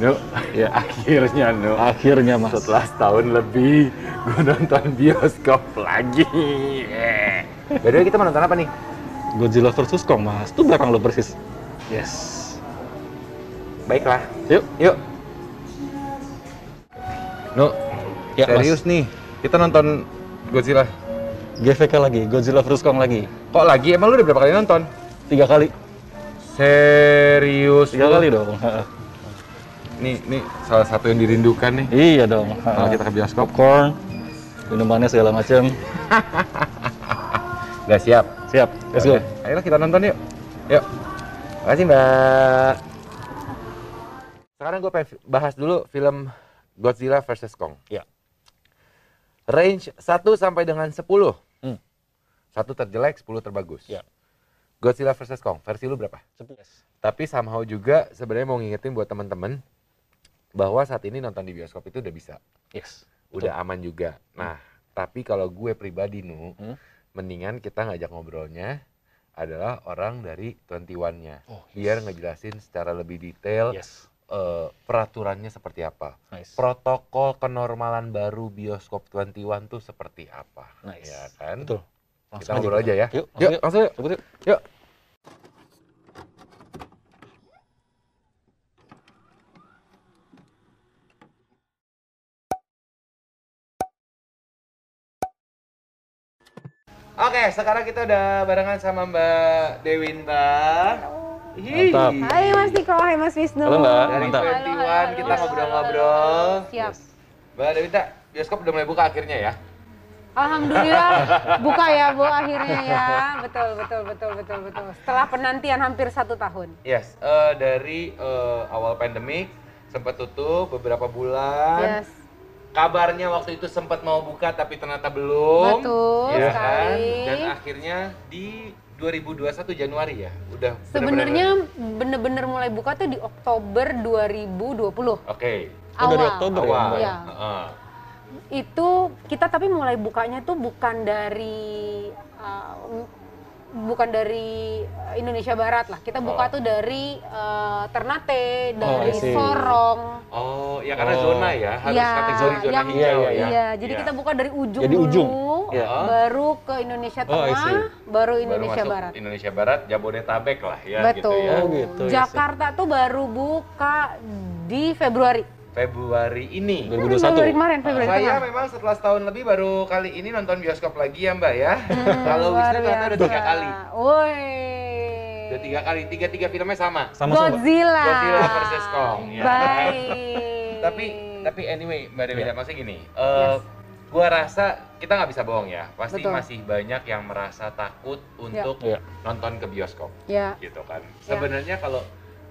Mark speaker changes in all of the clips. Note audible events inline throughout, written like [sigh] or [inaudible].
Speaker 1: Ya akhirnya no.
Speaker 2: Akhirnya mas.
Speaker 1: Setelah setahun lebih gue nonton bioskop lagi. Beda kita menonton apa nih?
Speaker 2: Godzilla versus Kong mas. Itu belakang lo persis. Yes.
Speaker 1: Baiklah.
Speaker 2: Yuk.
Speaker 1: Yuk. No,
Speaker 2: Ya, Mas.
Speaker 1: serius nih. Kita nonton Godzilla.
Speaker 2: GVK lagi. Godzilla versus Kong lagi.
Speaker 1: Kok lagi? Emang lu udah berapa kali nonton?
Speaker 2: Tiga kali.
Speaker 1: Serius.
Speaker 2: Tiga
Speaker 1: lu?
Speaker 2: kali dong. Ha.
Speaker 1: Nih, nih salah satu yang dirindukan nih.
Speaker 2: iya dong. Ha.
Speaker 1: Kalau Nah, kita ke bioskop.
Speaker 2: popcorn, minumannya segala macam.
Speaker 1: Gak siap.
Speaker 2: Siap. Let's
Speaker 1: Oke,
Speaker 2: go.
Speaker 1: Ayolah kita nonton yuk. Yuk. Makasih Mbak. Sekarang gue pengen fi- bahas dulu film Godzilla vs Kong.
Speaker 2: Ya.
Speaker 1: Range 1 sampai dengan 10.
Speaker 2: Hmm.
Speaker 1: Satu terjelek, 10 terbagus.
Speaker 2: Ya.
Speaker 1: Godzilla vs Kong, versi lu berapa? Tapi somehow juga sebenarnya mau ngingetin buat temen-temen bahwa saat ini nonton di bioskop itu udah bisa,
Speaker 2: Yes.
Speaker 1: udah aman juga. Nah, tapi kalau gue pribadi nu,
Speaker 2: Hmm.
Speaker 1: mendingan kita ngajak ngobrolnya adalah orang dari 21-nya.
Speaker 2: Oh,
Speaker 1: Biar ngejelasin secara lebih detail
Speaker 2: Yes.
Speaker 1: eh, peraturannya seperti apa.
Speaker 2: Nice.
Speaker 1: Protokol kenormalan baru bioskop 21 tuh seperti apa.
Speaker 2: Nice.
Speaker 1: Ya kan?
Speaker 2: Betul.
Speaker 1: Kita ngobrol aja ya.
Speaker 2: Yuk,
Speaker 1: Yuk,
Speaker 2: langsung
Speaker 1: langsung yuk.
Speaker 2: yuk. Cabut yuk.
Speaker 1: Yuk. Oke, sekarang kita udah barengan sama Mbak Dewinta. Hii.
Speaker 2: Mantap.
Speaker 3: Hai Mas Niko, hai Mas Wisnu.
Speaker 2: Halo, Mbak.
Speaker 1: Dari
Speaker 2: Mantap.
Speaker 1: 21 kita ngobrol-ngobrol.
Speaker 3: Siap.
Speaker 1: Mbak Dewinta, bioskop udah mulai buka akhirnya ya?
Speaker 3: Alhamdulillah buka ya Bu akhirnya [laughs] ya. Betul betul betul betul betul. Setelah penantian hampir satu tahun.
Speaker 1: Yes, eh, dari eh, awal pandemik sempat tutup beberapa bulan.
Speaker 3: Yes.
Speaker 1: Kabarnya waktu itu sempat mau buka tapi ternyata belum.
Speaker 3: Betul
Speaker 1: ya kan?
Speaker 3: sekali.
Speaker 1: Dan akhirnya di 2021 Januari ya, udah benar-benar-
Speaker 3: Sebenarnya bener-bener mulai buka tuh di Oktober 2020.
Speaker 1: Oke.
Speaker 2: Oh, dari
Speaker 3: Awal.
Speaker 2: Oktober ya,
Speaker 1: Awal.
Speaker 2: Mbak?
Speaker 3: Iya.
Speaker 1: Heeh.
Speaker 3: Itu kita tapi mulai bukanya tuh bukan dari uh, bukan dari uh, Indonesia Barat lah. Kita
Speaker 1: Oh.
Speaker 3: buka tuh dari uh, Ternate, dari
Speaker 2: I see.
Speaker 3: Sorong.
Speaker 1: Oh, ya karena
Speaker 2: Oh.
Speaker 1: zona ya, harus
Speaker 3: Iya,
Speaker 1: kategori zona
Speaker 3: yang-
Speaker 1: hijau
Speaker 2: iya,
Speaker 1: ya.
Speaker 3: Iya, jadi kita buka dari ujung
Speaker 2: Jadi
Speaker 3: dulu,
Speaker 2: ujung.
Speaker 1: Iya.
Speaker 3: baru ke Indonesia
Speaker 2: Oh, I see.
Speaker 3: Tengah, baru
Speaker 1: Baru
Speaker 3: Indonesia
Speaker 1: masuk
Speaker 3: Barat.
Speaker 1: Indonesia Barat, Jabodetabek lah ya gitu
Speaker 3: Betul.
Speaker 1: ya.
Speaker 2: Oh, gitu, I see.
Speaker 3: Jakarta tuh baru buka di Februari.
Speaker 1: Februari ini.
Speaker 2: 2021.
Speaker 3: Februari kemarin, Februari
Speaker 1: Saya
Speaker 3: tengah.
Speaker 1: memang setelah setahun lebih baru kali ini nonton bioskop lagi ya Mbak ya.
Speaker 3: Hmm,
Speaker 1: Kalau Wisnu ternyata udah tiga kali.
Speaker 3: Woi.
Speaker 1: Udah tiga kali, tiga-tiga filmnya sama.
Speaker 2: Sama-sama.
Speaker 3: Godzilla.
Speaker 1: Godzilla versus Kong, ya.
Speaker 3: Baik.
Speaker 1: Tapi
Speaker 3: Hmm.
Speaker 1: tapi anyway Mbak Dewi,
Speaker 2: Iya.
Speaker 1: maksudnya gini, eh, gua rasa kita nggak bisa bohong ya. Pasti
Speaker 3: Betul.
Speaker 1: masih banyak yang merasa takut untuk
Speaker 2: Iya.
Speaker 1: nonton ke bioskop
Speaker 3: ya,
Speaker 1: gitu kan.
Speaker 3: Iya.
Speaker 1: Sebenarnya kalau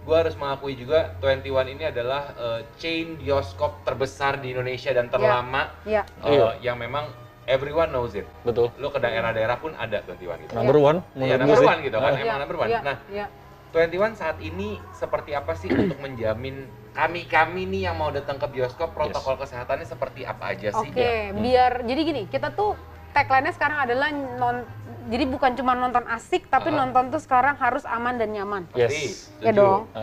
Speaker 1: gua harus mengakui juga 21 ini adalah eh, chain bioskop terbesar di Indonesia dan terlama
Speaker 3: ya.
Speaker 1: eh,
Speaker 2: Iya.
Speaker 1: yang memang everyone knows it.
Speaker 2: Betul.
Speaker 3: Iya.
Speaker 1: lo ke daerah-daerah pun ada 21 gitu.
Speaker 2: Number one
Speaker 1: Iya,
Speaker 2: menurut gue
Speaker 1: number
Speaker 2: sih.
Speaker 1: one gitu kan,
Speaker 2: Ah.
Speaker 1: emang number one.
Speaker 3: ya,
Speaker 1: Nah,
Speaker 3: ya.
Speaker 1: 21 saat ini seperti apa
Speaker 2: [clears throat]
Speaker 1: sih untuk menjamin kami-kami nih yang mau datang ke bioskop protokol kesehatannya seperti apa aja sih?
Speaker 3: Oke, biar jadi gini, kita tuh tagline-nya sekarang adalah non jadi bukan cuma nonton asik, tapi
Speaker 1: Aha.
Speaker 3: nonton tuh sekarang harus aman dan nyaman.
Speaker 2: Yes.
Speaker 1: Pasti, setuju.
Speaker 3: Ya dong.
Speaker 2: Ah.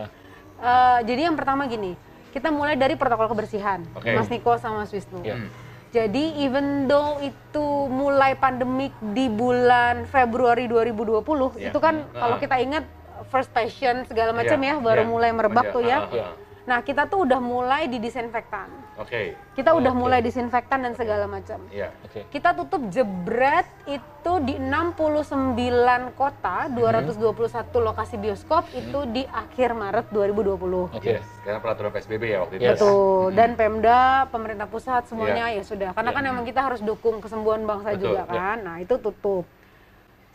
Speaker 3: Eh, jadi yang pertama gini, kita mulai dari protokol kebersihan,
Speaker 1: Oke.
Speaker 3: Mas Niko sama Mas Wisnu.
Speaker 2: Iya.
Speaker 1: Hmm.
Speaker 3: Jadi even though itu mulai pandemik di bulan Februari 2020,
Speaker 1: Iya.
Speaker 3: itu kan
Speaker 1: Ah.
Speaker 3: kalau kita ingat first passion segala macam
Speaker 1: Iya,
Speaker 3: ya baru
Speaker 1: iya.
Speaker 3: mulai
Speaker 1: Iya,
Speaker 3: merebak tuh ya.
Speaker 1: ah, ah, ah.
Speaker 3: Nah kita tuh udah mulai di disinfektan,
Speaker 1: Oke.
Speaker 3: kita udah
Speaker 2: Oke.
Speaker 3: mulai disinfektan dan segala macam.
Speaker 1: Iya.
Speaker 2: Oke.
Speaker 3: Kita tutup jebret itu di 69 kota, 221 lokasi bioskop itu di akhir Maret 2020.
Speaker 2: Oke.
Speaker 1: Yes, karena peraturan PSBB ya waktu itu. ya?
Speaker 2: Yes.
Speaker 3: Betul. Dan Pemda, pemerintah pusat semuanya ya sudah. Karena kan emang kita harus dukung kesembuhan bangsa
Speaker 1: Betul,
Speaker 3: juga kan. Nah, itu tutup.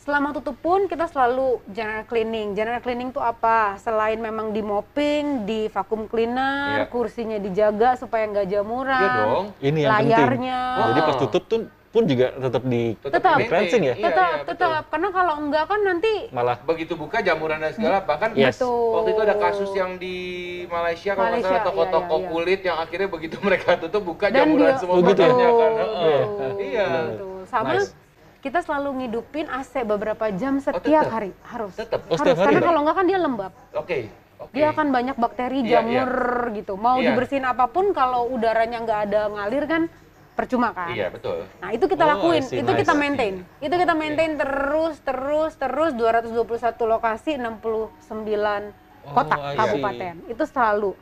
Speaker 3: Selama tutup pun kita selalu general cleaning. General cleaning tuh apa? Selain memang di mopping, di vakum cleaner,
Speaker 1: Iya.
Speaker 3: kursinya dijaga supaya nggak jamuran.
Speaker 1: Iya dong.
Speaker 2: Ini yang penting.
Speaker 3: layarnya.
Speaker 2: Jadi pas tutup tuh pun juga tetap di
Speaker 3: Tetap.
Speaker 1: di-maintain.
Speaker 2: Cleansing ya?
Speaker 1: Iya,
Speaker 3: tetap,
Speaker 1: iya, betul.
Speaker 3: tetap. Karena kalau enggak kan nanti
Speaker 2: malah
Speaker 1: Begitu buka jamuran dan segala bahkan
Speaker 2: Yes.
Speaker 3: Hmm. Betul.
Speaker 1: Waktu itu ada kasus yang di Malaysia kalau nggak
Speaker 3: Malaysia,
Speaker 1: salah toko-toko
Speaker 3: iya, iya, iya.
Speaker 1: kulit yang akhirnya begitu mereka tutup buka
Speaker 3: Dan
Speaker 1: jamuran
Speaker 3: dia-
Speaker 1: semua
Speaker 2: Oh, gitu ya?
Speaker 1: produknya kan. Heeh.
Speaker 3: Betul,
Speaker 1: Iya.
Speaker 3: betul. Sama
Speaker 2: Nice.
Speaker 3: kita selalu ngidupin AC beberapa jam
Speaker 1: Oh,
Speaker 3: setiap
Speaker 1: tetap?
Speaker 3: hari harus.
Speaker 1: Tetap.
Speaker 2: Oh,
Speaker 3: harus
Speaker 2: setiap hari
Speaker 3: karena
Speaker 2: dong?
Speaker 3: kalau enggak kan dia lembab.
Speaker 1: Oke. Oke.
Speaker 3: dia akan banyak bakteri
Speaker 1: Iya, iya.
Speaker 3: jamur gitu mau
Speaker 1: Iya.
Speaker 3: dibersihin apapun kalau udaranya nggak ada ngalir kan percuma kan
Speaker 1: Iya, betul.
Speaker 3: Nah, itu kita
Speaker 2: Oh,
Speaker 3: lakuin,
Speaker 2: I see,
Speaker 3: itu
Speaker 2: I
Speaker 3: kita
Speaker 2: see.
Speaker 3: maintain. Itu kita maintain terus terus terus 221 lokasi 69
Speaker 2: Oh,
Speaker 3: kota
Speaker 2: I see.
Speaker 3: kabupaten. Itu selalu.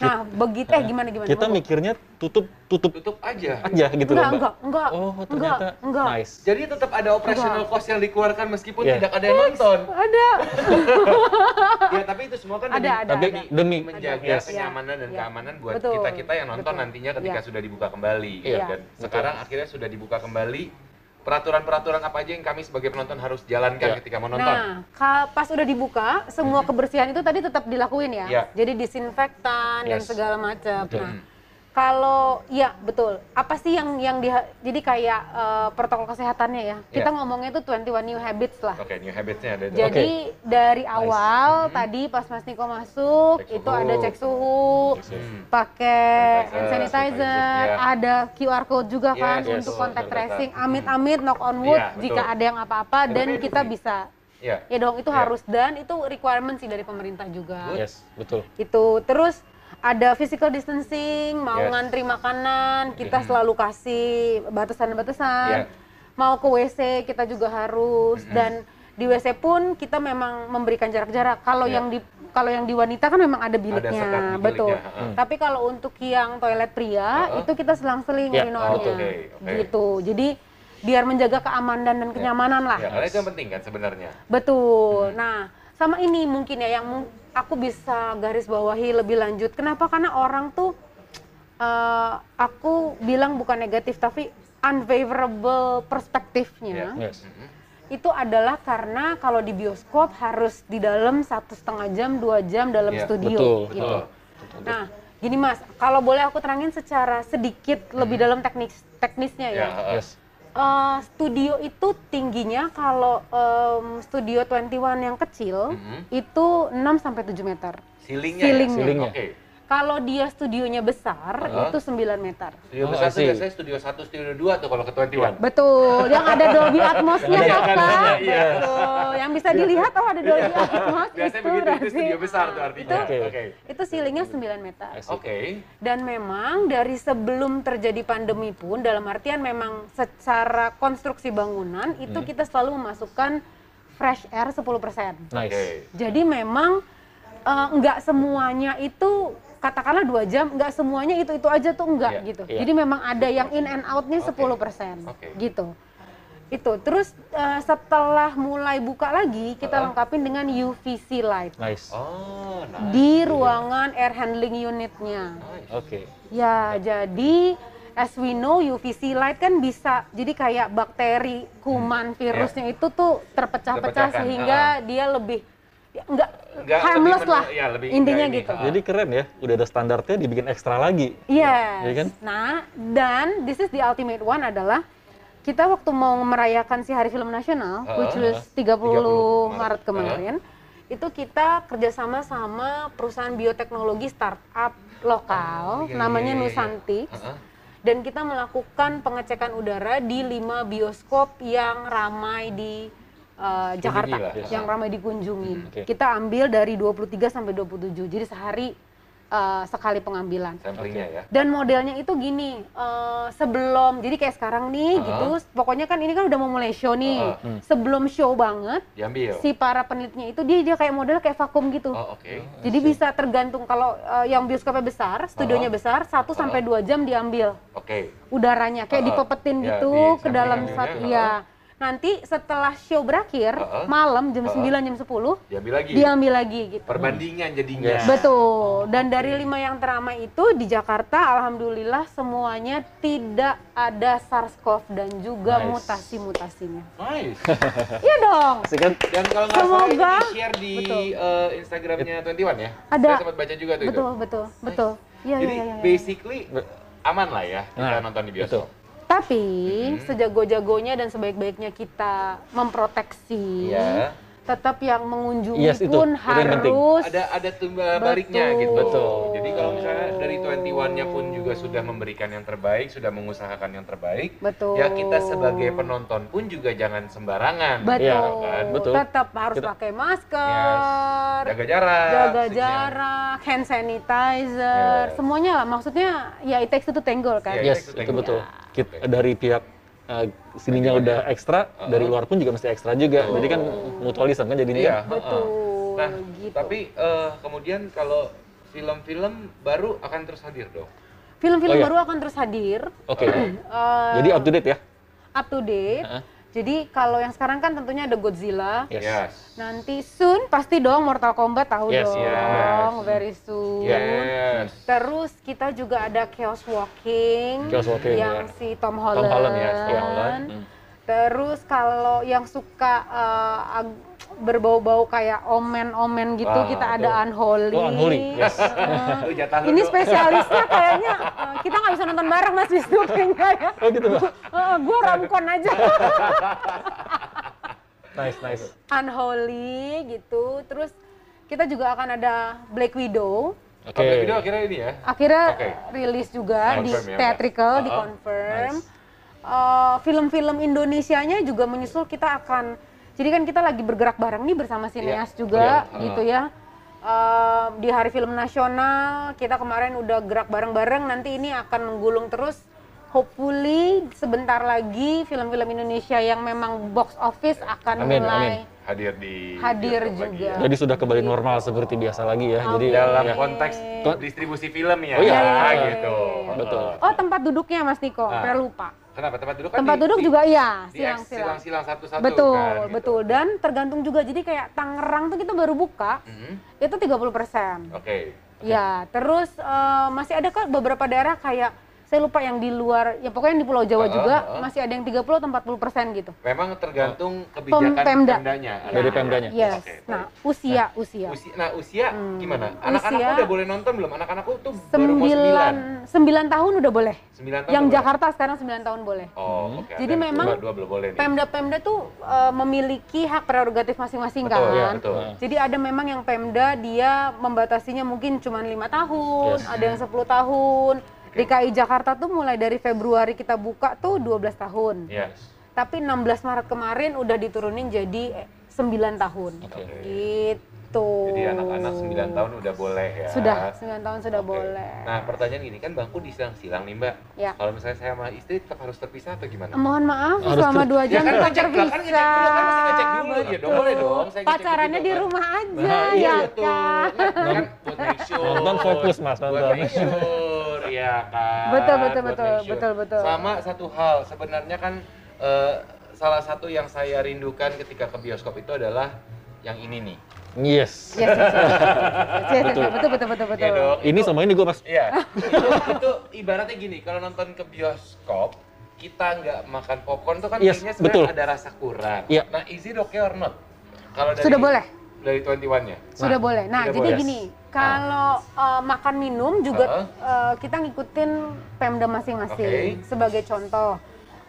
Speaker 3: Nah, begitu eh gimana gimana?
Speaker 2: Kita
Speaker 3: Monggo.
Speaker 2: mikirnya tutup tutup
Speaker 1: Tutup aja.
Speaker 2: aja gitu loh,
Speaker 3: enggak,
Speaker 2: Mbak.
Speaker 3: enggak, enggak.
Speaker 2: Oh,
Speaker 3: enggak,
Speaker 2: ternyata
Speaker 3: enggak.
Speaker 2: nice.
Speaker 1: Jadi tetap ada operational cost yang dikeluarkan meskipun
Speaker 2: Iya.
Speaker 1: tidak ada yang nonton.
Speaker 3: [laughs] Ada.
Speaker 1: ya, tapi itu semua kan
Speaker 3: Ada,
Speaker 1: demi-
Speaker 3: ada,
Speaker 2: Tapi
Speaker 3: ada.
Speaker 2: demi
Speaker 1: menjaga
Speaker 2: Yes.
Speaker 1: kenyamanan dan
Speaker 3: Iya.
Speaker 1: keamanan buat
Speaker 3: Betul.
Speaker 1: kita kita yang nonton
Speaker 3: Betul.
Speaker 1: nantinya ketika
Speaker 3: Iya.
Speaker 1: sudah dibuka kembali
Speaker 3: Iya.
Speaker 1: dan sekarang akhirnya sudah dibuka kembali peraturan-peraturan apa aja yang kami sebagai penonton harus jalankan
Speaker 2: Iya.
Speaker 1: ketika menonton
Speaker 3: Nah, ka- pas udah dibuka, semua kebersihan itu tadi tetap dilakuin ya.
Speaker 1: Iya.
Speaker 3: Jadi disinfektan dan
Speaker 2: Yes.
Speaker 3: segala macam.
Speaker 2: Betul.
Speaker 3: Nah, kalau ya betul. Apa sih yang yang diha- jadi kayak eh, protokol kesehatannya ya?
Speaker 1: Iya.
Speaker 3: Kita ngomongnya itu 21 new habits lah.
Speaker 1: oke new habitsnya ada itu.
Speaker 2: Oke.
Speaker 3: Nah. Jadi dari awal tadi pas Mas Niko masuk
Speaker 1: Cek
Speaker 3: itu
Speaker 1: suhu.
Speaker 3: ada cek suhu,
Speaker 1: Hmm.
Speaker 3: pakai
Speaker 1: Sanitizer,
Speaker 3: hand sanitizer,
Speaker 1: sanitizer, ya.
Speaker 3: ada QR code juga
Speaker 1: Yes,
Speaker 3: kan
Speaker 1: yes,
Speaker 3: untuk
Speaker 1: betul,
Speaker 3: kontak
Speaker 1: betul,
Speaker 3: tracing.
Speaker 1: betul.
Speaker 3: Amit-amit knock on wood
Speaker 1: Iya, betul.
Speaker 3: jika ada yang apa-apa dan
Speaker 1: Tapi-
Speaker 3: kita bisa.
Speaker 1: Iya.
Speaker 3: Ya dong itu
Speaker 1: Iya.
Speaker 3: harus dan itu requirement sih dari pemerintah juga.
Speaker 2: Yes, betul.
Speaker 3: Itu Gitu. terus ada physical distancing, mau
Speaker 1: Yes.
Speaker 3: ngantri makanan, kita selalu kasih batasan-batasan.
Speaker 1: Iya.
Speaker 3: Mau ke WC kita juga harus dan di WC pun kita memang memberikan jarak-jarak. Kalau
Speaker 1: Iya.
Speaker 3: yang di kalau yang di wanita kan memang ada biliknya,
Speaker 1: sekat di biliknya,
Speaker 3: betul.
Speaker 1: ha-ha.
Speaker 3: Tapi kalau untuk yang toilet pria
Speaker 1: Ha-ha.
Speaker 3: itu kita selang-seling
Speaker 2: Iya,
Speaker 3: urinoirnya.
Speaker 1: betul. Oh, Oke, oke.
Speaker 3: Gitu. Jadi biar menjaga keamanan dan kenyamanan lah.
Speaker 1: ya karena itu yang penting kan sebenarnya
Speaker 3: Betul. Nah, sama ini mungkin ya yang mung- aku bisa garis bawahi lebih lanjut. Kenapa? Karena orang tuh eh, aku bilang bukan negatif tapi unfavorable perspektifnya
Speaker 2: Yes.
Speaker 3: itu adalah karena kalau di bioskop harus di dalam satu setengah jam dua jam dalam
Speaker 1: Iya,
Speaker 3: studio
Speaker 2: betul,
Speaker 3: gitu.
Speaker 2: betul.
Speaker 3: Nah, gini Mas, kalau boleh aku terangin secara sedikit lebih
Speaker 2: Hmm.
Speaker 3: dalam teknis teknisnya ya.
Speaker 1: ya ha-ha.
Speaker 2: Yes.
Speaker 3: Eh, studio itu tingginya kalau em, studio 21 yang kecil
Speaker 1: Mhm.
Speaker 3: itu 6 sampai 7 meter.
Speaker 1: Ceilingnya ya?
Speaker 3: Ceilingnya.
Speaker 2: Ceilingnya.
Speaker 1: oke
Speaker 3: Kalau dia studionya besar
Speaker 1: Uh-huh.
Speaker 3: itu 9 meter.
Speaker 1: studio
Speaker 2: Oh,
Speaker 1: besar
Speaker 2: I
Speaker 1: tuh
Speaker 2: see. Iya.
Speaker 1: biasanya studio satu studio dua tuh kalau ke 21
Speaker 3: Betul, yang ada Dolby Atmos-nya
Speaker 1: Yang ada
Speaker 3: Kakak.
Speaker 1: kameranya, iya.
Speaker 3: Betul, yang bisa dilihat oh ada Dolby Atmos
Speaker 1: biasanya begitu itu
Speaker 3: berarti-
Speaker 1: studio besar tuh artinya
Speaker 2: Oke.
Speaker 1: oke
Speaker 3: Itu ceilingnya 9 meter.
Speaker 2: I see.
Speaker 1: oke
Speaker 3: Dan memang dari sebelum terjadi pandemi pun, dalam artian memang secara konstruksi bangunan itu
Speaker 1: Hmm.
Speaker 3: kita selalu memasukkan fresh air 10%.
Speaker 2: Nice.
Speaker 1: oke
Speaker 3: Jadi memang eh, nggak semuanya itu katakanlah dua jam, nggak semuanya itu itu aja tuh nggak
Speaker 1: Iya,
Speaker 3: gitu.
Speaker 2: iya.
Speaker 3: Jadi memang ada yang in and outnya
Speaker 1: Oke.
Speaker 3: 10%
Speaker 1: Oke.
Speaker 3: gitu. Itu terus eh, setelah mulai buka lagi kita
Speaker 1: Uh-uh.
Speaker 3: lengkapin dengan UVC light
Speaker 1: Nah,
Speaker 2: Nice.
Speaker 1: oh nice
Speaker 3: di ruangan air handling unitnya.
Speaker 1: Nice.
Speaker 2: Oke.
Speaker 3: Ya, jadi as we know UVC light kan bisa jadi kayak bakteri, kuman, virusnya itu tuh terpecah-pecah
Speaker 1: Hmm, ya. Terpecahkan,
Speaker 3: sehingga dia lebih ya, enggak
Speaker 1: Enggak,
Speaker 3: harmless
Speaker 1: lebih
Speaker 3: lah.
Speaker 1: menel- ya, lebih
Speaker 3: intinya
Speaker 1: enggak ini,
Speaker 3: gitu.
Speaker 1: ha.
Speaker 2: Jadi keren ya, udah ada standarnya dibikin ekstra lagi.
Speaker 3: Yes.
Speaker 2: Iya kan?
Speaker 3: Nah, dan this is the ultimate one adalah kita waktu mau merayakan si Hari Film Nasional,
Speaker 1: Ah,
Speaker 3: which was 30,
Speaker 1: 30 Maret
Speaker 3: Maret kemarin, itu kita kerjasama sama perusahaan bioteknologi
Speaker 1: Oh,
Speaker 3: startup lokal,
Speaker 1: iya, iya, iya,
Speaker 3: namanya
Speaker 1: iya.
Speaker 3: Nusanti,
Speaker 1: Ha-ha.
Speaker 3: dan kita melakukan pengecekan udara di lima bioskop yang ramai di uh, Jakarta,
Speaker 1: lah, ya.
Speaker 3: yang ramai dikunjungi.
Speaker 2: Hmm, oke.
Speaker 3: Kita ambil dari 23 sampai 27, jadi sehari uh, sekali pengambilan.
Speaker 1: samplingnya ya
Speaker 3: Dan modelnya itu gini, eh, sebelum jadi kayak sekarang nih
Speaker 1: Ah.
Speaker 3: gitu, pokoknya kan ini kan udah mau mulai show nih.
Speaker 1: Ah.
Speaker 3: Sebelum show banget,
Speaker 1: diambil
Speaker 3: si para penelitinya itu dia dia kayak model kayak vakum gitu.
Speaker 1: Iya. oh oke
Speaker 3: Jadi bisa tergantung kalau eh, yang bioskopnya besar, studionya besar, 1 sampai 2 jam diambil
Speaker 1: oke
Speaker 3: udaranya
Speaker 1: Ah.
Speaker 3: kayak
Speaker 2: Uh-huh.
Speaker 3: dipepetin
Speaker 1: Ya,
Speaker 3: gitu
Speaker 1: di
Speaker 3: ke dalam
Speaker 1: sampingan
Speaker 3: satu
Speaker 1: juga.
Speaker 3: ya. Nanti setelah show berakhir,
Speaker 1: Ah.
Speaker 2: Uh-huh.
Speaker 3: malam jam 9 jam 10
Speaker 1: diambil
Speaker 2: Iya.
Speaker 1: lagi
Speaker 3: diambil lagi gitu.
Speaker 1: perbandingan jadinya
Speaker 2: Oh,
Speaker 3: Betul. Dan dari lima yang teramai itu di Jakarta, alhamdulillah semuanya tidak ada SARS-CoV dan juga
Speaker 2: Nice.
Speaker 3: mutasi-mutasinya.
Speaker 1: nice
Speaker 3: Iya dong.
Speaker 2: Asik kan?
Speaker 1: dan kalau nggak salah ini
Speaker 3: Semoga-
Speaker 1: di share di
Speaker 3: Betul.
Speaker 1: eh, Instagramnya 21 ya
Speaker 3: Ada.
Speaker 1: saya sempat baca juga tuh itu
Speaker 3: Betul, betul, betul. Iya,
Speaker 1: jadi
Speaker 3: iya, iya. iya.
Speaker 1: basically aman lah ya kita
Speaker 2: Nah,
Speaker 1: nonton di bioskop
Speaker 2: Mm-hmm.
Speaker 3: Tapi sejago-jagonya dan sebaik-baiknya kita memproteksi,
Speaker 1: Iya.
Speaker 3: tetap yang mengunjungi
Speaker 2: Yes, itu.
Speaker 3: pun
Speaker 2: Itu yang penting.
Speaker 3: harus
Speaker 1: ada ada tumba baliknya gitu.
Speaker 2: Betul.
Speaker 1: Jadi kalau misalnya dari 21-nya pun juga sudah memberikan yang terbaik, sudah mengusahakan yang terbaik,
Speaker 3: betul
Speaker 1: ya kita sebagai penonton pun juga jangan sembarangan.
Speaker 3: betul,
Speaker 2: Iya,
Speaker 1: kan?
Speaker 2: Betul.
Speaker 3: tetap harus
Speaker 2: Kita-
Speaker 3: pakai masker
Speaker 1: Jaga jarak.
Speaker 3: jaga
Speaker 1: maksudnya.
Speaker 3: jarak hand sanitizer
Speaker 1: Yes.
Speaker 3: semuanya lah maksudnya ya it takes two to tangle kan
Speaker 1: Iya,
Speaker 2: Yes,
Speaker 1: itu
Speaker 2: itu
Speaker 1: teknik.
Speaker 2: betul. Kita
Speaker 1: Oke.
Speaker 2: dari pihak eh, sininya
Speaker 1: Teknik.
Speaker 2: udah ekstra,
Speaker 1: Uh-uh.
Speaker 2: dari luar pun juga mesti ekstra juga.
Speaker 1: Betul.
Speaker 2: Jadi kan mutualism kan jadinya.
Speaker 1: Iya,
Speaker 2: kan.
Speaker 1: heeh.
Speaker 3: betul
Speaker 1: Nah,
Speaker 3: gitu
Speaker 1: Tapi eh, kemudian kalau film-film baru akan terus hadir dong.
Speaker 3: film-film
Speaker 2: Oh, iya.
Speaker 3: baru akan terus hadir
Speaker 2: Oke.
Speaker 3: Eh,
Speaker 2: Jadi up to date ya.
Speaker 3: up to date
Speaker 2: Heeh.
Speaker 3: jadi kalau yang sekarang kan tentunya ada Godzilla
Speaker 2: Yes.
Speaker 1: Yes.
Speaker 3: Nanti soon pasti dong Mortal Kombat tahu
Speaker 2: Yes,
Speaker 3: dong,
Speaker 1: yes.
Speaker 3: very soon.
Speaker 1: Yes.
Speaker 3: Terus kita juga ada Chaos Walking,
Speaker 2: Chaos Walking,
Speaker 3: yang
Speaker 2: ya.
Speaker 3: si Tom Holland.
Speaker 2: Holland, yes, Tom Holland. Hmm.
Speaker 3: Terus kalau yang suka eh, ag- berbau-bau kayak omen-omen gitu,
Speaker 1: Wah,
Speaker 3: kita ada
Speaker 2: betul.
Speaker 3: Unholy.
Speaker 2: Ah, Oh, Unholy, yes.
Speaker 3: [laughs] Eh,
Speaker 1: Lu jatah lu
Speaker 3: ini
Speaker 1: dong.
Speaker 3: spesialisnya kayaknya eh, kita nggak bisa nonton bareng Mas Wisnu kayaknya ya.
Speaker 2: Oh gitu, Mbak.
Speaker 3: Eh, gua romcon aja. [laughs]
Speaker 2: Nice, nice.
Speaker 3: Unholy gitu. Terus kita juga akan ada Black Widow.
Speaker 2: Oke.
Speaker 1: Oke, video akhirnya ini ya.
Speaker 3: Akhirnya
Speaker 1: Oke.
Speaker 3: rilis juga
Speaker 1: Confirm
Speaker 3: di
Speaker 1: ya, Mbak?
Speaker 3: theatrical,
Speaker 1: Uh-uh.
Speaker 3: di confirm. Eh, Film-film Indonesianya juga menyusul kita akan. Jadi kan kita lagi bergerak bareng nih bersama sineas juga
Speaker 1: iya, uh.
Speaker 3: gitu ya. Eh, di Hari Film Nasional kita kemarin udah gerak bareng-bareng. Nanti ini akan menggulung terus. Hopefully sebentar lagi film-film Indonesia yang memang box office akan
Speaker 2: Amin,
Speaker 3: mulai
Speaker 2: amin.
Speaker 1: Hadir di
Speaker 3: Hadir
Speaker 1: bioskop lagi
Speaker 3: juga.
Speaker 1: ya.
Speaker 2: Jadi sudah kembali normal seperti biasa lagi ya. Jadi
Speaker 1: dalam
Speaker 2: ya.
Speaker 1: konteks
Speaker 2: Kon-
Speaker 1: distribusi film ya,
Speaker 2: Oh iya.
Speaker 1: Ah,
Speaker 2: Iya.
Speaker 1: gitu.
Speaker 2: Betul.
Speaker 3: Oh tempat duduknya Mas Niko,
Speaker 1: Ah.
Speaker 3: saya lupa.
Speaker 1: Kenapa tempat duduk kan
Speaker 3: Tempat
Speaker 1: di-
Speaker 3: duduk
Speaker 1: di-
Speaker 3: juga iya,
Speaker 1: di X
Speaker 3: silang-silang.
Speaker 1: silang-silang satu-satu
Speaker 3: Betul,
Speaker 1: kan, gitu.
Speaker 3: betul. Dan tergantung juga jadi kayak Tangerang tuh kita baru buka
Speaker 1: Mhm.
Speaker 3: itu 30 persen.
Speaker 1: Oh, Oke.
Speaker 3: Ya, terus eh, masih ada kok beberapa daerah kayak saya lupa yang di luar, ya pokoknya yang di Pulau
Speaker 1: Ah,
Speaker 3: Jawa juga
Speaker 1: ah.
Speaker 3: masih ada yang 30 atau 40 persen gitu.
Speaker 1: Memang tergantung kebijakan
Speaker 3: Pemda.
Speaker 1: pemdanya. ada
Speaker 2: Dari
Speaker 1: ya?
Speaker 2: pemdanya.
Speaker 3: Yes.
Speaker 1: Oke, baik.
Speaker 3: nah, usia, usia.
Speaker 1: Usi- nah usia
Speaker 3: Hmm.
Speaker 1: gimana? Anak-anakku
Speaker 3: Usia-
Speaker 1: udah boleh nonton belum? Anak-anakku tuh baru mau sembilan.
Speaker 3: 9 9 tahun udah boleh.
Speaker 1: Sembilan tahun
Speaker 3: yang
Speaker 1: udah
Speaker 3: Jakarta sekarang 9 tahun boleh.
Speaker 1: boleh. Oh, oke.
Speaker 3: Jadi
Speaker 1: ada
Speaker 3: memang
Speaker 1: dua, dua belum boleh nih.
Speaker 3: Pemda-pemda tuh eh, memiliki hak prerogatif masing-masing
Speaker 1: Betul,
Speaker 3: kan.
Speaker 1: ya, betul.
Speaker 3: Jadi ada memang yang Pemda dia membatasinya mungkin cuma lima tahun,
Speaker 2: Yes.
Speaker 3: ada yang 10 tahun. DKI Jakarta tuh mulai dari Februari kita buka tuh 12 tahun.
Speaker 1: Yes.
Speaker 3: Tapi 16 Maret kemarin udah diturunin jadi eh, 9 tahun.
Speaker 2: Oke.
Speaker 3: Gitu.
Speaker 1: Jadi anak-anak 9 tahun udah boleh ya.
Speaker 3: Sudah, 9 tahun sudah
Speaker 1: Oke.
Speaker 3: boleh.
Speaker 1: Nah, pertanyaan gini kan bangku disilang-silang nih, Mbak.
Speaker 3: Ya.
Speaker 1: Kalau misalnya saya sama istri tetap harus terpisah atau gimana?
Speaker 3: Mohon maaf
Speaker 2: Harus
Speaker 3: selama
Speaker 2: ter-
Speaker 3: dua jam
Speaker 1: kan
Speaker 3: kita
Speaker 1: ngecek dulu, kan ngecek
Speaker 3: terpisah.
Speaker 1: dulu, kan mesti ngecek dulu. Ya dong, boleh
Speaker 3: Betul.
Speaker 1: dong, saya ngecek
Speaker 3: Pacarannya
Speaker 1: gitu,
Speaker 3: di
Speaker 1: kan.
Speaker 3: rumah aja
Speaker 2: Nah, iya,
Speaker 3: ya
Speaker 1: betul.
Speaker 3: kan.
Speaker 1: Kan, kan buat make sure.
Speaker 2: Nonton fokus, Mas,
Speaker 1: Buat
Speaker 2: nonton.
Speaker 1: make sure, ya kan.
Speaker 3: Betul, betul,
Speaker 1: Buat make
Speaker 3: betul,
Speaker 1: sure.
Speaker 3: betul, betul.
Speaker 1: Sama satu hal, sebenarnya kan eh, salah satu yang saya rindukan ketika ke bioskop itu adalah yang ini nih.
Speaker 2: Yes.
Speaker 3: Yes, yes, yes, yes, yes, yes, yes, betul, betul, betul,
Speaker 1: Ya
Speaker 3: betul.
Speaker 1: dong.
Speaker 2: Ini sama ini gue mas.
Speaker 1: Iya. [laughs] itu, itu ibaratnya gini, kalau nonton ke bioskop kita nggak makan popcorn tuh kan
Speaker 2: Yes,
Speaker 1: kayaknya
Speaker 2: betul.
Speaker 1: sebenarnya ada rasa kurang.
Speaker 2: Iya.
Speaker 1: Nah, is it okay or not? Kalau dari
Speaker 3: Sudah boleh.
Speaker 1: dari 21-nya.
Speaker 3: Sudah boleh. Nah,
Speaker 1: sudah
Speaker 3: jadi
Speaker 1: boleh. Ah.
Speaker 3: gini, kalau eh, makan minum juga eh, kita ngikutin Pemda masing-masing.
Speaker 1: Oke.
Speaker 3: Sebagai contoh,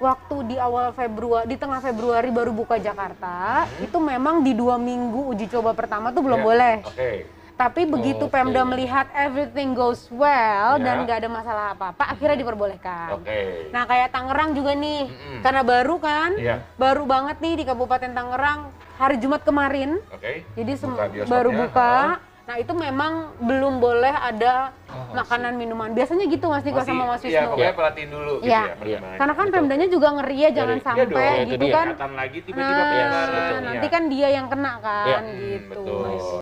Speaker 3: waktu di awal Februari, di tengah Februari baru buka Jakarta,
Speaker 1: Hmm.
Speaker 3: itu memang di dua minggu uji coba pertama tuh belum
Speaker 1: Iya.
Speaker 3: boleh.
Speaker 1: Oke.
Speaker 3: Tapi begitu
Speaker 2: Oke.
Speaker 3: Pemda melihat everything goes
Speaker 1: Iya.
Speaker 3: well dan nggak ada masalah apa-apa, akhirnya diperbolehkan.
Speaker 1: Oke.
Speaker 3: Nah, kayak Tangerang juga nih,
Speaker 1: Mm-mm.
Speaker 3: karena baru kan,
Speaker 1: Iya.
Speaker 3: baru banget nih di Kabupaten Tangerang hari Jumat kemarin.
Speaker 1: Oke.
Speaker 3: Jadi sem-
Speaker 1: Buka bioskopnya,
Speaker 3: baru buka.
Speaker 1: ha.
Speaker 3: Nah itu memang belum boleh ada makanan minuman. Biasanya gitu Mas Niko sama Mas
Speaker 1: Oh, Iya,
Speaker 3: Wisnu.
Speaker 1: pokoknya pelatihin dulu gitu
Speaker 3: Iya.
Speaker 1: ya, perkembangannya.
Speaker 3: Karena kan pemdanya juga ngeri ya
Speaker 2: Iya
Speaker 3: jangan
Speaker 1: Iya
Speaker 3: sampai
Speaker 1: dong,
Speaker 3: gitu
Speaker 2: itu dia.
Speaker 3: kan.
Speaker 1: Kelihatan lagi tiba-tiba
Speaker 3: Nah,
Speaker 1: penyebaran.
Speaker 3: nanti
Speaker 1: Iya.
Speaker 3: kan dia yang kena
Speaker 2: Iya.
Speaker 3: kan
Speaker 1: Hmm,
Speaker 3: gitu.
Speaker 1: Betul.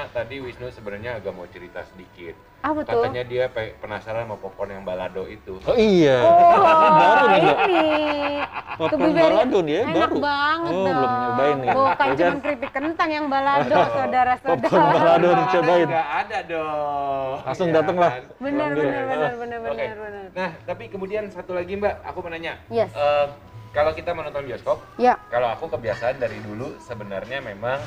Speaker 1: Nah, tadi Wisnu sebenarnya agak mau cerita sedikit.
Speaker 3: Ah betul.
Speaker 1: Katanya dia pe- penasaran sama popcorn yang balado itu.
Speaker 2: Oh iya.
Speaker 3: Oh,
Speaker 2: Baru nih, Mbak.
Speaker 3: ini.
Speaker 2: Popcorn
Speaker 3: Tuh, Bibi,
Speaker 2: balado nih ya,
Speaker 3: Enak
Speaker 2: baru.
Speaker 3: banget
Speaker 2: Oh,
Speaker 3: dong.
Speaker 2: belum nyobain nih.
Speaker 3: Bukan
Speaker 2: Ya
Speaker 3: cuma
Speaker 2: kan?
Speaker 3: keripik kentang yang balado,
Speaker 2: [laughs] Popcorn
Speaker 3: saudara-saudara.
Speaker 2: balado
Speaker 1: Balado
Speaker 2: dicobain.
Speaker 1: juga ada dong.
Speaker 2: Langsung
Speaker 1: Iya
Speaker 2: dateng lah.
Speaker 1: kan?
Speaker 3: Benar,
Speaker 2: Ambil.
Speaker 3: benar, benar, benar,
Speaker 1: Oke.
Speaker 3: benar, benar.
Speaker 1: Nah, tapi kemudian satu lagi Mbak, aku mau nanya.
Speaker 3: Yes.
Speaker 1: Eh, kalau kita menonton bioskop,
Speaker 3: Ya,
Speaker 1: kalau aku kebiasaan dari dulu sebenarnya memang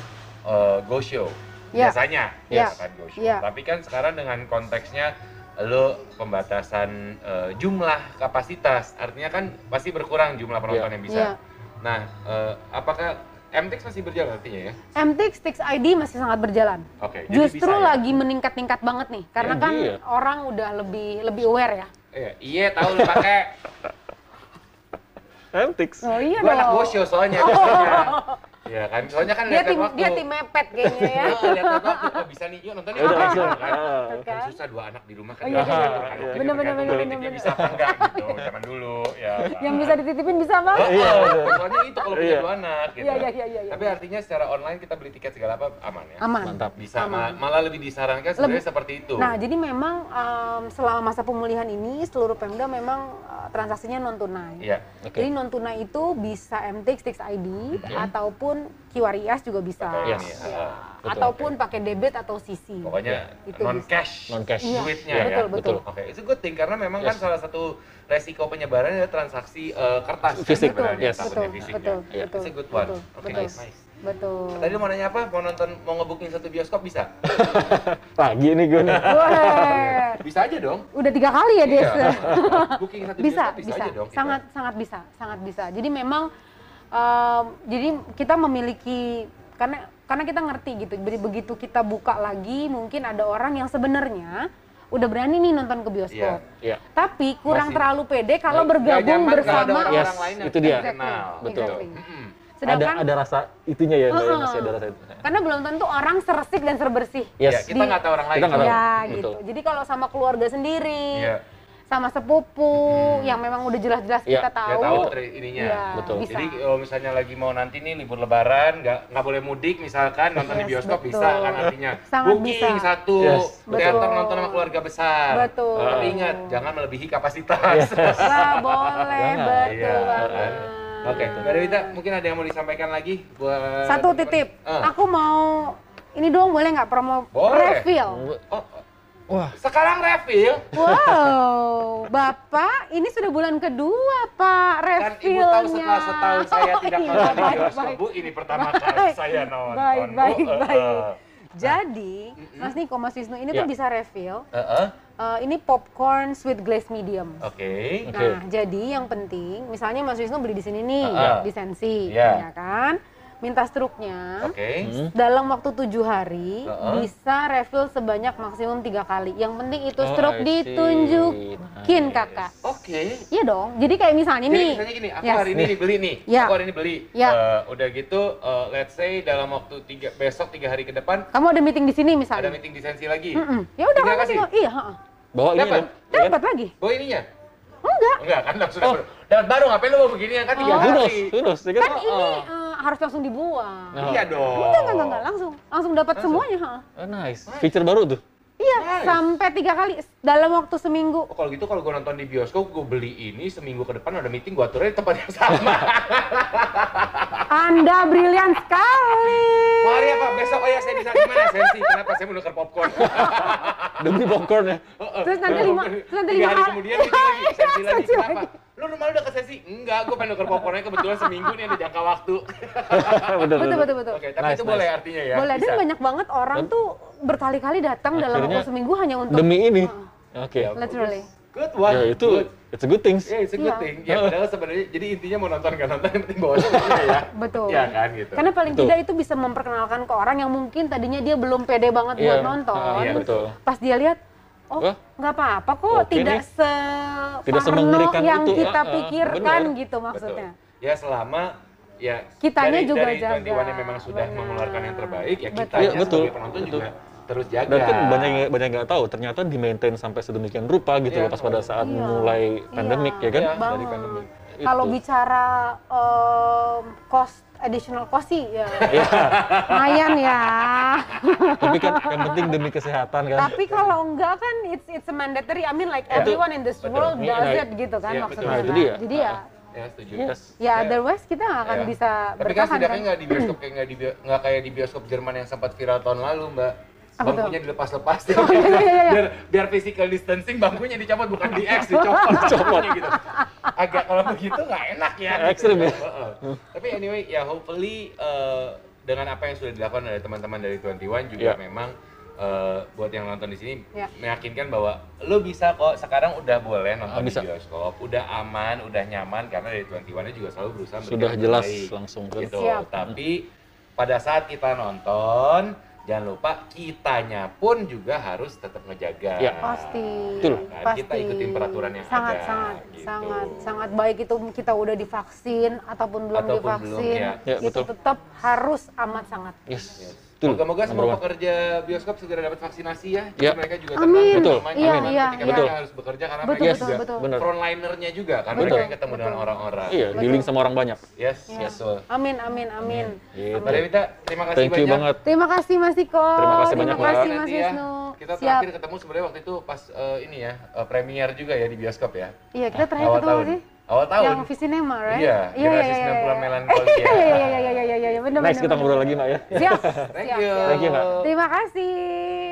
Speaker 1: eh, go show.
Speaker 3: Ya.
Speaker 1: Biasanya
Speaker 3: Ya.
Speaker 1: biasakan go show.
Speaker 3: Ya.
Speaker 1: Tapi kan sekarang dengan konteksnya lo pembatasan eh, jumlah kapasitas, artinya kan pasti berkurang jumlah penonton
Speaker 2: Ya.
Speaker 1: yang bisa.
Speaker 3: ya.
Speaker 1: Nah, eh, apakah MTX masih berjalan artinya ya?
Speaker 3: MTX Tix ID masih sangat berjalan.
Speaker 1: Oke. jadi
Speaker 3: Justru
Speaker 1: bisa ya?
Speaker 3: lagi meningkat-tingkat banget nih, karena
Speaker 2: Ya,
Speaker 3: kan
Speaker 2: iya.
Speaker 3: orang udah lebih lebih aware ya.
Speaker 1: Iya, iya tahu lu pakai.
Speaker 2: Antix.
Speaker 3: Oh iya
Speaker 1: Gua anak ya,
Speaker 3: dong.
Speaker 1: bosio soalnya
Speaker 2: [laughs]
Speaker 1: biasanya. Iya kan, soalnya kan
Speaker 3: Dia
Speaker 1: lihat
Speaker 3: tim
Speaker 1: waktu.
Speaker 3: dia tim mepet kayaknya
Speaker 1: [laughs]
Speaker 3: ya.
Speaker 1: Heeh, lihat waktu oh, bisa nih, yuk nonton
Speaker 2: Ya
Speaker 1: yuk.
Speaker 2: udah langsung.
Speaker 1: Kan?
Speaker 2: Ah.
Speaker 1: Kan
Speaker 3: Kan?
Speaker 1: susah dua anak di rumah kan.
Speaker 3: Oh, iya,
Speaker 1: Kan? Anak
Speaker 2: iya, iya.
Speaker 1: itu
Speaker 3: Bener, bener,
Speaker 1: tergantung
Speaker 3: bener,
Speaker 1: politiknya
Speaker 3: bener,
Speaker 1: ya bisa apa enggak gitu, zaman dulu ya. kan?
Speaker 3: Yang bisa dititipin bisa bang?
Speaker 2: Oh, iya, bener.
Speaker 1: Soalnya itu kalau punya
Speaker 2: Iya.
Speaker 1: dua anak gitu.
Speaker 3: Iya iya iya iya.
Speaker 1: Tapi artinya secara online kita beli tiket segala apa aman ya?
Speaker 3: Aman.
Speaker 2: Mantap.
Speaker 1: Bisa ma-
Speaker 3: Aman.
Speaker 1: malah lebih disarankan sebenarnya
Speaker 3: Lebih-
Speaker 1: seperti itu.
Speaker 3: Nah, jadi memang em, selama masa pemulihan ini seluruh Pemda memang eh, transaksinya non tunai.
Speaker 1: Iya.
Speaker 3: Jadi non tunai itu bisa MTX, Tix ID ataupun QR IAS juga bisa.
Speaker 1: Atau
Speaker 2: Yes.
Speaker 1: ini,
Speaker 3: Ya.
Speaker 1: ah.
Speaker 2: Betul,
Speaker 3: ataupun pakai debit atau CC.
Speaker 1: Pokoknya
Speaker 3: Itu
Speaker 1: non cash.
Speaker 2: Non cash.
Speaker 3: Iya,
Speaker 1: duitnya
Speaker 2: Iya,
Speaker 1: ya.
Speaker 3: betul, betul.
Speaker 1: Oke, itu good thing karena memang kan
Speaker 2: Yes.
Speaker 1: salah satu resiko penyebarannya adalah transaksi eh, kertas kan
Speaker 2: Fisik,
Speaker 1: sebenarnya,
Speaker 2: yes.
Speaker 1: takutnya
Speaker 3: betul,
Speaker 1: fisiknya.
Speaker 3: betul,
Speaker 2: Iya.
Speaker 3: betul,
Speaker 1: ya. It's a good one.
Speaker 3: betul,
Speaker 1: Oke,
Speaker 3: betul,
Speaker 1: nice. nice.
Speaker 3: betul.
Speaker 1: Tadi lu mau nanya apa? Mau nonton, mau ngebooking satu bioskop bisa?
Speaker 2: Lagi nih gue
Speaker 3: [laughs]
Speaker 2: nih.
Speaker 3: Wah,
Speaker 1: Bisa aja dong.
Speaker 3: udah tiga kali ya Des?
Speaker 1: Iya. [laughs] Booking satu
Speaker 3: [laughs] bisa,
Speaker 1: bioskop bisa,
Speaker 3: bisa,
Speaker 1: aja dong. gitu. kita.
Speaker 3: sangat, sangat bisa, sangat bisa. Jadi memang, um, jadi kita memiliki karena karena kita ngerti gitu. Jadi begitu kita buka lagi, mungkin ada orang yang sebenarnya udah berani nih nonton ke bioskop,
Speaker 1: Iya.
Speaker 2: Iya.
Speaker 3: tapi kurang
Speaker 1: Masih-
Speaker 3: terlalu pede kalau
Speaker 1: Nggak
Speaker 3: bergabung
Speaker 1: nyaman kalau ada
Speaker 3: bersama.
Speaker 1: orang-orang
Speaker 2: Yes,
Speaker 1: lain yang
Speaker 2: itu dia.
Speaker 1: kita kenal.
Speaker 2: Betul.
Speaker 3: Exactly.
Speaker 1: Mm-mm.
Speaker 3: Sedangkan
Speaker 2: ada ada rasa itunya ya, Mbak, ya,
Speaker 3: Heeh.
Speaker 2: masih ada rasa itu.
Speaker 3: karena belum tentu orang seresik dan serbersih.
Speaker 2: Yes.
Speaker 1: Ya, kita
Speaker 3: Di-
Speaker 1: nggak tahu orang lain.
Speaker 2: Kita nggak tahu.
Speaker 3: Ya
Speaker 2: Betul.
Speaker 3: gitu. Jadi kalau sama keluarga sendiri,
Speaker 1: Iya. Hmm.
Speaker 3: sama sepupu yang memang udah jelas-jelas
Speaker 2: Iya,
Speaker 3: kita
Speaker 1: Dia
Speaker 3: tahu,
Speaker 1: tahu tri- ininya.
Speaker 3: Iya,
Speaker 2: Betul.
Speaker 3: bisa.
Speaker 1: Jadi kalau misalnya lagi mau nanti nih libur lebaran, nggak nggak boleh mudik misalkan nonton di
Speaker 3: Yes,
Speaker 1: bioskop
Speaker 3: betul.
Speaker 1: bisa kan artinya.
Speaker 3: Sangat
Speaker 1: Booking
Speaker 3: bisa.
Speaker 1: satu,
Speaker 2: Yes,
Speaker 1: teater
Speaker 3: betul.
Speaker 1: nonton sama keluarga besar.
Speaker 3: Betul.
Speaker 1: Tapi ingat jangan melebihi kapasitas.
Speaker 3: Lah boleh,
Speaker 2: Jangan.
Speaker 3: betul
Speaker 1: Iya,
Speaker 3: banget.
Speaker 1: [laughs] Oke, Mbak Dewita, mungkin ada yang mau disampaikan lagi buat
Speaker 3: Satu titip, Ah.
Speaker 1: Eh,
Speaker 3: aku mau ini dong boleh nggak promo
Speaker 1: Boleh.
Speaker 3: refill?
Speaker 1: oh,
Speaker 2: Wah,
Speaker 1: sekarang refill
Speaker 3: Wow, Bapak, ini sudah bulan kedua Pak
Speaker 1: kan ibu tahu
Speaker 3: refillnya.
Speaker 1: setelah setahun saya tidak
Speaker 3: [laughs] Iya,
Speaker 1: nonton di
Speaker 3: baik,
Speaker 1: bioskop
Speaker 3: baik.
Speaker 1: bu ini pertama kali
Speaker 3: Baik,
Speaker 1: saya nonton
Speaker 3: baik,
Speaker 1: Bu.
Speaker 3: baik,
Speaker 1: Eh,
Speaker 3: baik.
Speaker 1: eh. Nah. Iya.
Speaker 3: Jadi, Mas Niko, Mas Wisnu, ini tuh
Speaker 2: Ya.
Speaker 3: bisa refill.
Speaker 1: Eh, eh,
Speaker 3: Eh, ini popcorn sweet glaze medium.
Speaker 1: Oke.
Speaker 2: Oke.
Speaker 3: Nah, jadi yang penting, misalnya Mas Wisnu beli di sini nih,
Speaker 1: Ah.
Speaker 3: ya, di Sensi,
Speaker 1: Iya.
Speaker 3: ya kan? Minta struknya.
Speaker 1: Oke.
Speaker 2: Hmm.
Speaker 3: Dalam waktu tujuh hari
Speaker 1: Ah.
Speaker 3: bisa refill sebanyak maksimum tiga kali. Yang penting itu
Speaker 1: Ah,
Speaker 2: Oh,
Speaker 3: struk
Speaker 2: I see.
Speaker 3: ditunjukin
Speaker 2: Nice.
Speaker 3: kakak.
Speaker 1: Oke.
Speaker 3: Iya dong. Jadi kayak misalnya
Speaker 1: Jadi
Speaker 3: nih,
Speaker 1: misalnya gini, aku
Speaker 3: Yes.
Speaker 1: hari ini nih beli nih,
Speaker 3: Ya.
Speaker 1: aku hari ini beli.
Speaker 3: Ya.
Speaker 1: Eh, udah gitu, eh, let's say dalam waktu tiga besok tiga hari ke depan
Speaker 3: kamu ada meeting di sini
Speaker 1: ada
Speaker 3: misalnya.
Speaker 1: meeting di sensi lagi.
Speaker 3: Mm-mm. Ya udah
Speaker 1: Tiga
Speaker 3: kamu
Speaker 1: kasih?
Speaker 3: tinggal, iya. heeh.
Speaker 2: bawa ini
Speaker 1: Dapat?
Speaker 2: dong. Iya kan?
Speaker 3: Dapat lagi?
Speaker 1: Bawa ininya?
Speaker 3: Enggak.
Speaker 1: Enggak kan langsung dapat. Dapat baru ngapain lu mau begini kan tiga
Speaker 3: Oh.
Speaker 2: Bonus,
Speaker 1: hari?
Speaker 2: bonus, Iya, ya kan?
Speaker 3: Kan
Speaker 2: Oh,
Speaker 3: ini
Speaker 2: oh.
Speaker 3: eh, harus langsung dibuang.
Speaker 2: Nah.
Speaker 1: Iya dong.
Speaker 3: Enggak, enggak, enggak, enggak, langsung. Langsung dapat
Speaker 1: Langsung?
Speaker 3: semuanya. heeh.
Speaker 2: Oh, nice. Feature baru
Speaker 3: [laughs]
Speaker 2: tuh.
Speaker 3: Iya,
Speaker 1: Nice.
Speaker 3: sampai tiga kali dalam waktu seminggu.
Speaker 1: Oh, kalau gitu kalau gue nonton di bioskop, gue beli ini seminggu ke depan ada meeting, gue aturnya di tempat yang
Speaker 3: [laughs]
Speaker 1: sama.
Speaker 3: Anda brilian sekali.
Speaker 1: Mau hari apa? Besok oh ya saya bisa di mana sensi? Kenapa saya mau nuker popcorn?
Speaker 2: Demi popcorn ya.
Speaker 3: Terus nanti lima, terus nanti
Speaker 1: Tiga
Speaker 3: lima
Speaker 1: hari
Speaker 3: hari.
Speaker 1: kemudian meeting
Speaker 3: [laughs]
Speaker 1: lagi, sensi lagi.
Speaker 3: Sensi
Speaker 1: Kenapa? Lu rumah lu udah ke sensi? Enggak, gue pengen nuker popcornnya kebetulan seminggu nih ada jangka waktu.
Speaker 2: bener,
Speaker 3: [laughs] Betul, betul, betul.
Speaker 1: Oke, tapi
Speaker 2: Nice,
Speaker 1: itu
Speaker 2: nice.
Speaker 1: boleh artinya ya?
Speaker 3: Boleh, dan
Speaker 1: Bisa.
Speaker 3: banyak banget orang tuh berkali-kali datang dalam
Speaker 2: Akhirnya
Speaker 3: waktu seminggu hanya untuk
Speaker 2: Demi ini. Oke.
Speaker 1: Ya,
Speaker 3: Literally.
Speaker 1: Good one.
Speaker 2: Ya itu,
Speaker 1: Good.
Speaker 2: it's a good things.
Speaker 1: Ya, it's a good
Speaker 3: Iya.
Speaker 1: thing. Ya, padahal sebenarnya jadi intinya mau nonton nggak nonton yang penting bawa semuanya ya.
Speaker 3: Betul.
Speaker 1: Iya kan gitu.
Speaker 3: Karena paling
Speaker 2: Betul.
Speaker 3: tidak itu bisa memperkenalkan ke orang yang mungkin tadinya dia belum pede banget
Speaker 2: Iya,
Speaker 3: buat nonton.
Speaker 2: ah, iya, betul.
Speaker 3: Pas dia lihat, oh
Speaker 2: Wah,
Speaker 3: nggak apa-apa kok,
Speaker 2: oke nih.
Speaker 3: tidak se
Speaker 2: Tidak
Speaker 3: parno
Speaker 2: semengerikan
Speaker 3: yang
Speaker 2: itu,
Speaker 3: kita
Speaker 2: ah, ah,
Speaker 3: pikirkan
Speaker 2: benar.
Speaker 3: gitu
Speaker 1: Betul.
Speaker 3: [laughs] maksudnya.
Speaker 1: Ya selama ya
Speaker 3: Kitanya
Speaker 1: dari,
Speaker 3: juga
Speaker 1: dari
Speaker 3: jaga.
Speaker 1: 21 yang memang sudah
Speaker 3: Benar.
Speaker 1: mengeluarkan yang terbaik ya
Speaker 3: Betul.
Speaker 1: kita
Speaker 2: Iya, betul.
Speaker 1: sebagai penonton
Speaker 2: Betul.
Speaker 1: juga terus jaga.
Speaker 2: Dan
Speaker 3: Ya.
Speaker 2: kan banyak yang- banyak yang nggak tahu, ternyata di maintain sampai sedemikian rupa
Speaker 1: Iya.
Speaker 2: gitu loh pas pada saat
Speaker 3: Iya.
Speaker 2: mulai pandemik ya kan
Speaker 1: Iya.
Speaker 2: dari
Speaker 3: Banget.
Speaker 2: pandemi.
Speaker 3: Kalau bicara em, cost additional cost sih ya. Lumayan ya.
Speaker 2: Iya. [laughs] Tapi kan yang penting demi kesehatan kan.
Speaker 3: Tapi kalau enggak kan it's it's a mandatory. I mean like
Speaker 1: Iya.
Speaker 3: everyone in this
Speaker 1: Betul.
Speaker 3: world
Speaker 2: Iya,
Speaker 3: does
Speaker 2: iya.
Speaker 3: it gitu kan
Speaker 1: Iya, betul.
Speaker 3: maksudnya.
Speaker 2: Nah, jadi ya,
Speaker 3: Jadi ya
Speaker 1: ya setuju.
Speaker 2: Yes.
Speaker 3: ya
Speaker 1: Iya.
Speaker 3: otherwise kita nggak akan
Speaker 1: Ya.
Speaker 3: bisa
Speaker 1: Tapi kan
Speaker 3: bertahan
Speaker 1: setidaknya
Speaker 3: kan.
Speaker 1: nggak di bioskop kayak nggak di bio- nggak kayak di bioskop Jerman yang sempat viral tahun lalu, Mbak.
Speaker 3: Apa tuh?
Speaker 1: Bangkunya
Speaker 3: [laughs]
Speaker 1: dilepas-lepas.
Speaker 3: iya, iya, iya.
Speaker 1: biar biar physical distancing bangkunya dicopot bukan di X
Speaker 2: [laughs]
Speaker 1: dicopot bangkunya gitu. Agak kalau begitu nggak enak ya. gitu.
Speaker 2: Ekstrim ya.
Speaker 1: Heeh. Tapi anyway ya hopefully eh, dengan apa yang sudah dilakukan oleh teman-teman dari 21 juga
Speaker 2: Iya.
Speaker 1: memang eh, buat yang nonton di sini
Speaker 3: Ya.
Speaker 1: meyakinkan bahwa lo bisa kok sekarang udah boleh nonton
Speaker 2: Ah,
Speaker 1: di
Speaker 2: bisa.
Speaker 1: bioskop, udah aman, udah nyaman karena dari 21 nya juga selalu berusaha
Speaker 2: Sudah
Speaker 1: memberikan yang
Speaker 2: jelas
Speaker 1: terbaik
Speaker 2: langsung kan.
Speaker 1: gitu.
Speaker 3: Siap.
Speaker 1: Tapi pada saat kita nonton, jangan lupa kitanya pun juga harus tetap ngejaga.
Speaker 2: Ya.
Speaker 3: [clears throat] Pasti.
Speaker 2: Betul.
Speaker 1: Kan,
Speaker 3: Pasti.
Speaker 1: kita ikutin peraturan yang
Speaker 3: sangat,
Speaker 1: ada,
Speaker 3: Sangat,
Speaker 1: gitu.
Speaker 3: sangat, sangat baik itu kita udah divaksin ataupun belum
Speaker 1: Ataupun
Speaker 3: divaksin,
Speaker 1: belum,
Speaker 2: ya. Ya,
Speaker 3: itu
Speaker 2: betul.
Speaker 3: tetap harus amat sangat.
Speaker 1: Nah,
Speaker 2: Yes.
Speaker 1: Yes.
Speaker 2: Betul.
Speaker 1: Moga-moga
Speaker 2: Nomor
Speaker 1: semua
Speaker 2: one.
Speaker 1: pekerja bioskop segera dapat vaksinasi ya. Jadi
Speaker 2: Ya.
Speaker 1: mereka juga
Speaker 3: Amin.
Speaker 2: Betul.
Speaker 1: nyaman,
Speaker 3: Iya,
Speaker 1: aman
Speaker 3: iya,
Speaker 1: ketika
Speaker 3: iya.
Speaker 1: mereka harus bekerja karena
Speaker 3: Betul,
Speaker 1: mereka
Speaker 2: betul,
Speaker 1: juga
Speaker 3: betul.
Speaker 2: Bener.
Speaker 1: frontlinernya juga karena
Speaker 3: Betul.
Speaker 1: mereka yang ketemu dengan
Speaker 3: Betul.
Speaker 1: orang-orang.
Speaker 2: Iya,
Speaker 3: Betul.
Speaker 2: dealing sama orang banyak.
Speaker 1: Yes, yes.
Speaker 3: Ya.
Speaker 1: Iya, betul.
Speaker 3: Amin, amin, amin.
Speaker 2: Gitu.
Speaker 1: Mbak Devita, terima kasih
Speaker 2: Thank you
Speaker 1: banyak.
Speaker 2: banget.
Speaker 3: Terima kasih Mas Iko.
Speaker 2: Terima kasih banyak, Mbak.
Speaker 3: kasih Mas
Speaker 1: Nanti ya,
Speaker 3: Wisnu.
Speaker 1: Kita
Speaker 3: Siap.
Speaker 1: terakhir ketemu sebenarnya waktu itu pas eh, ini ya, eh, premier juga ya di bioskop ya.
Speaker 3: Iya, kita terakhir
Speaker 1: awal
Speaker 3: ketemu
Speaker 1: tahun.
Speaker 3: sih.
Speaker 1: Awal tahun.
Speaker 3: Yang Visinema, right?
Speaker 1: Iya,
Speaker 3: iya,
Speaker 1: generasi
Speaker 3: iya, iya,
Speaker 1: 90-an
Speaker 3: iya.
Speaker 1: melankolia.
Speaker 3: [laughs] Iya, iya, iya, iya, iya, iya, iya, benar,
Speaker 2: Next
Speaker 3: benar,
Speaker 2: kita
Speaker 3: benar.
Speaker 2: ngobrol lagi Mbak ya.
Speaker 3: Siap,
Speaker 1: Thank
Speaker 3: siap,
Speaker 1: you.
Speaker 3: siap.
Speaker 2: Thank you, Mbak.
Speaker 3: Terima kasih.